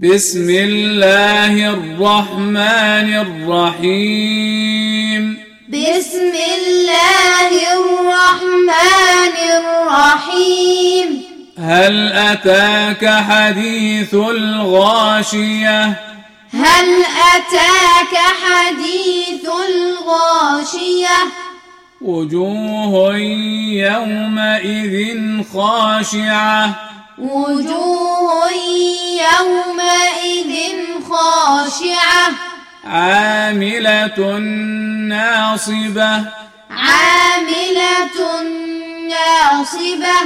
بسم الله الرحمن الرحيم بسم الله الرحمن الرحيم هل أتاك حديث الغاشية هل أتاك حديث الغاشية وجوه يومئذ خاشعة وجوه يومئذ خاشعة عاملة ناصبة عاملة ناصبة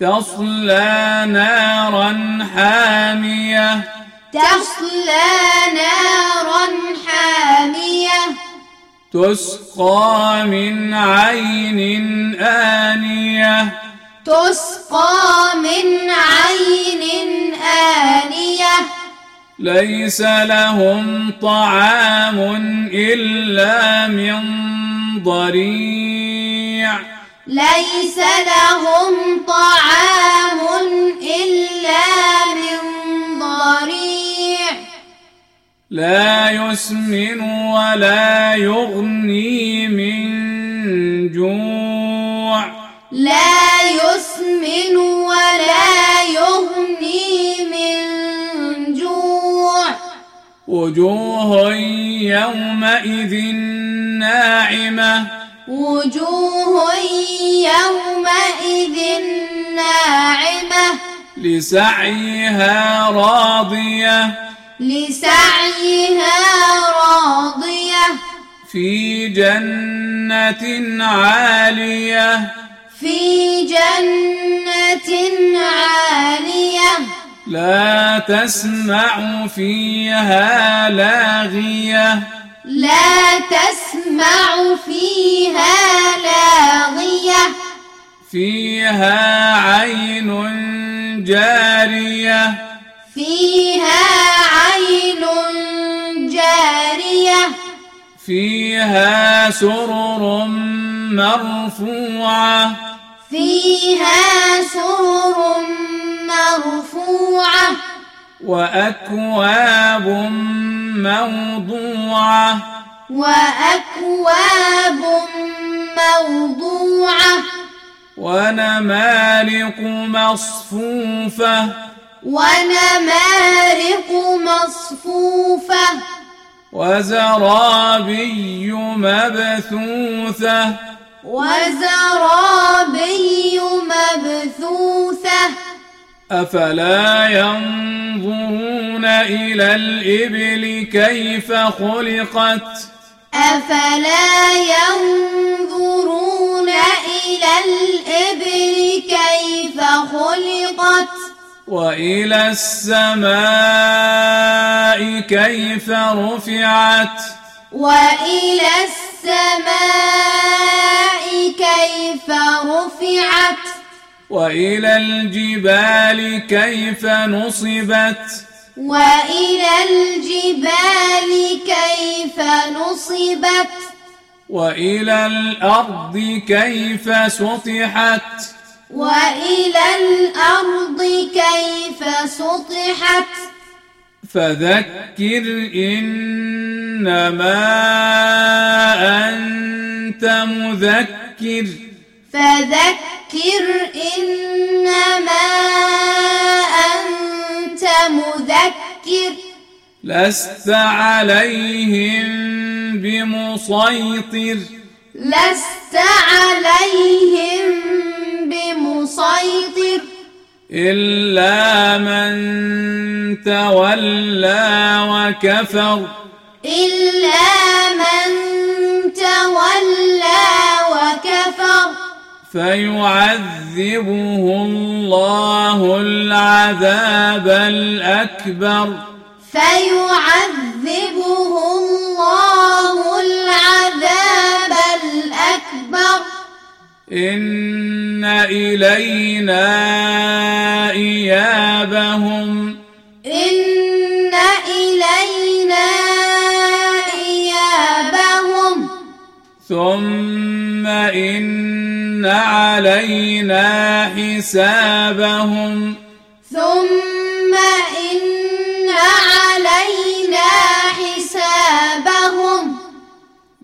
تصلى نارا حامية تصلى نارا حامية تسقى من عين آنية تسقى من عين آنية ليس لهم طعام إلا من ضريع ليس لهم طعام إلا من ضريع لا يسمن ولا يغني من جوع لا يسمن ولا يغني من جوع وجوه يومئذ ناعمه وجوه يومئذ ناعمة لسعيها راضية لسعيها راضية في جنة عالية في جنة عالية لا تسمع فيها لاغية لا تسمع فيها لاغية فيها عين جارية فيها عين جارية فيها سرر مرفوعة فيها سرر مرفوعة وأكواب موضوعة وأكواب موضوعة ونمارق مصفوفة ونمارق مصفوفة وزرابي مبثوثة وزرابي مبثوثة أفلا ينظرون إلى الإبل كيف خلقت أفلا ينظرون إلى الإبل كيف خلقت وإلى السماء كيف رفعت وإلى السماء كيف رفعت وإلى الجبال كيف نصبت وإلى الجبال كيف نصبت وإلى الأرض كيف سطحت وإلى الأرض كيف سطحت فذكر إنما أنت مذكر فذكر إنما أنت مذكر لست عليهم بمسيطر لست عليهم بمسيطر إلا من تولى وكفر إلا من تولى وكفر فيعذبه الله العذاب الأكبر فيعذبه الله العذاب الأكبر إن إلينا إيابهم إن إلينا إيابهم ثم إن علينا حسابهم ثم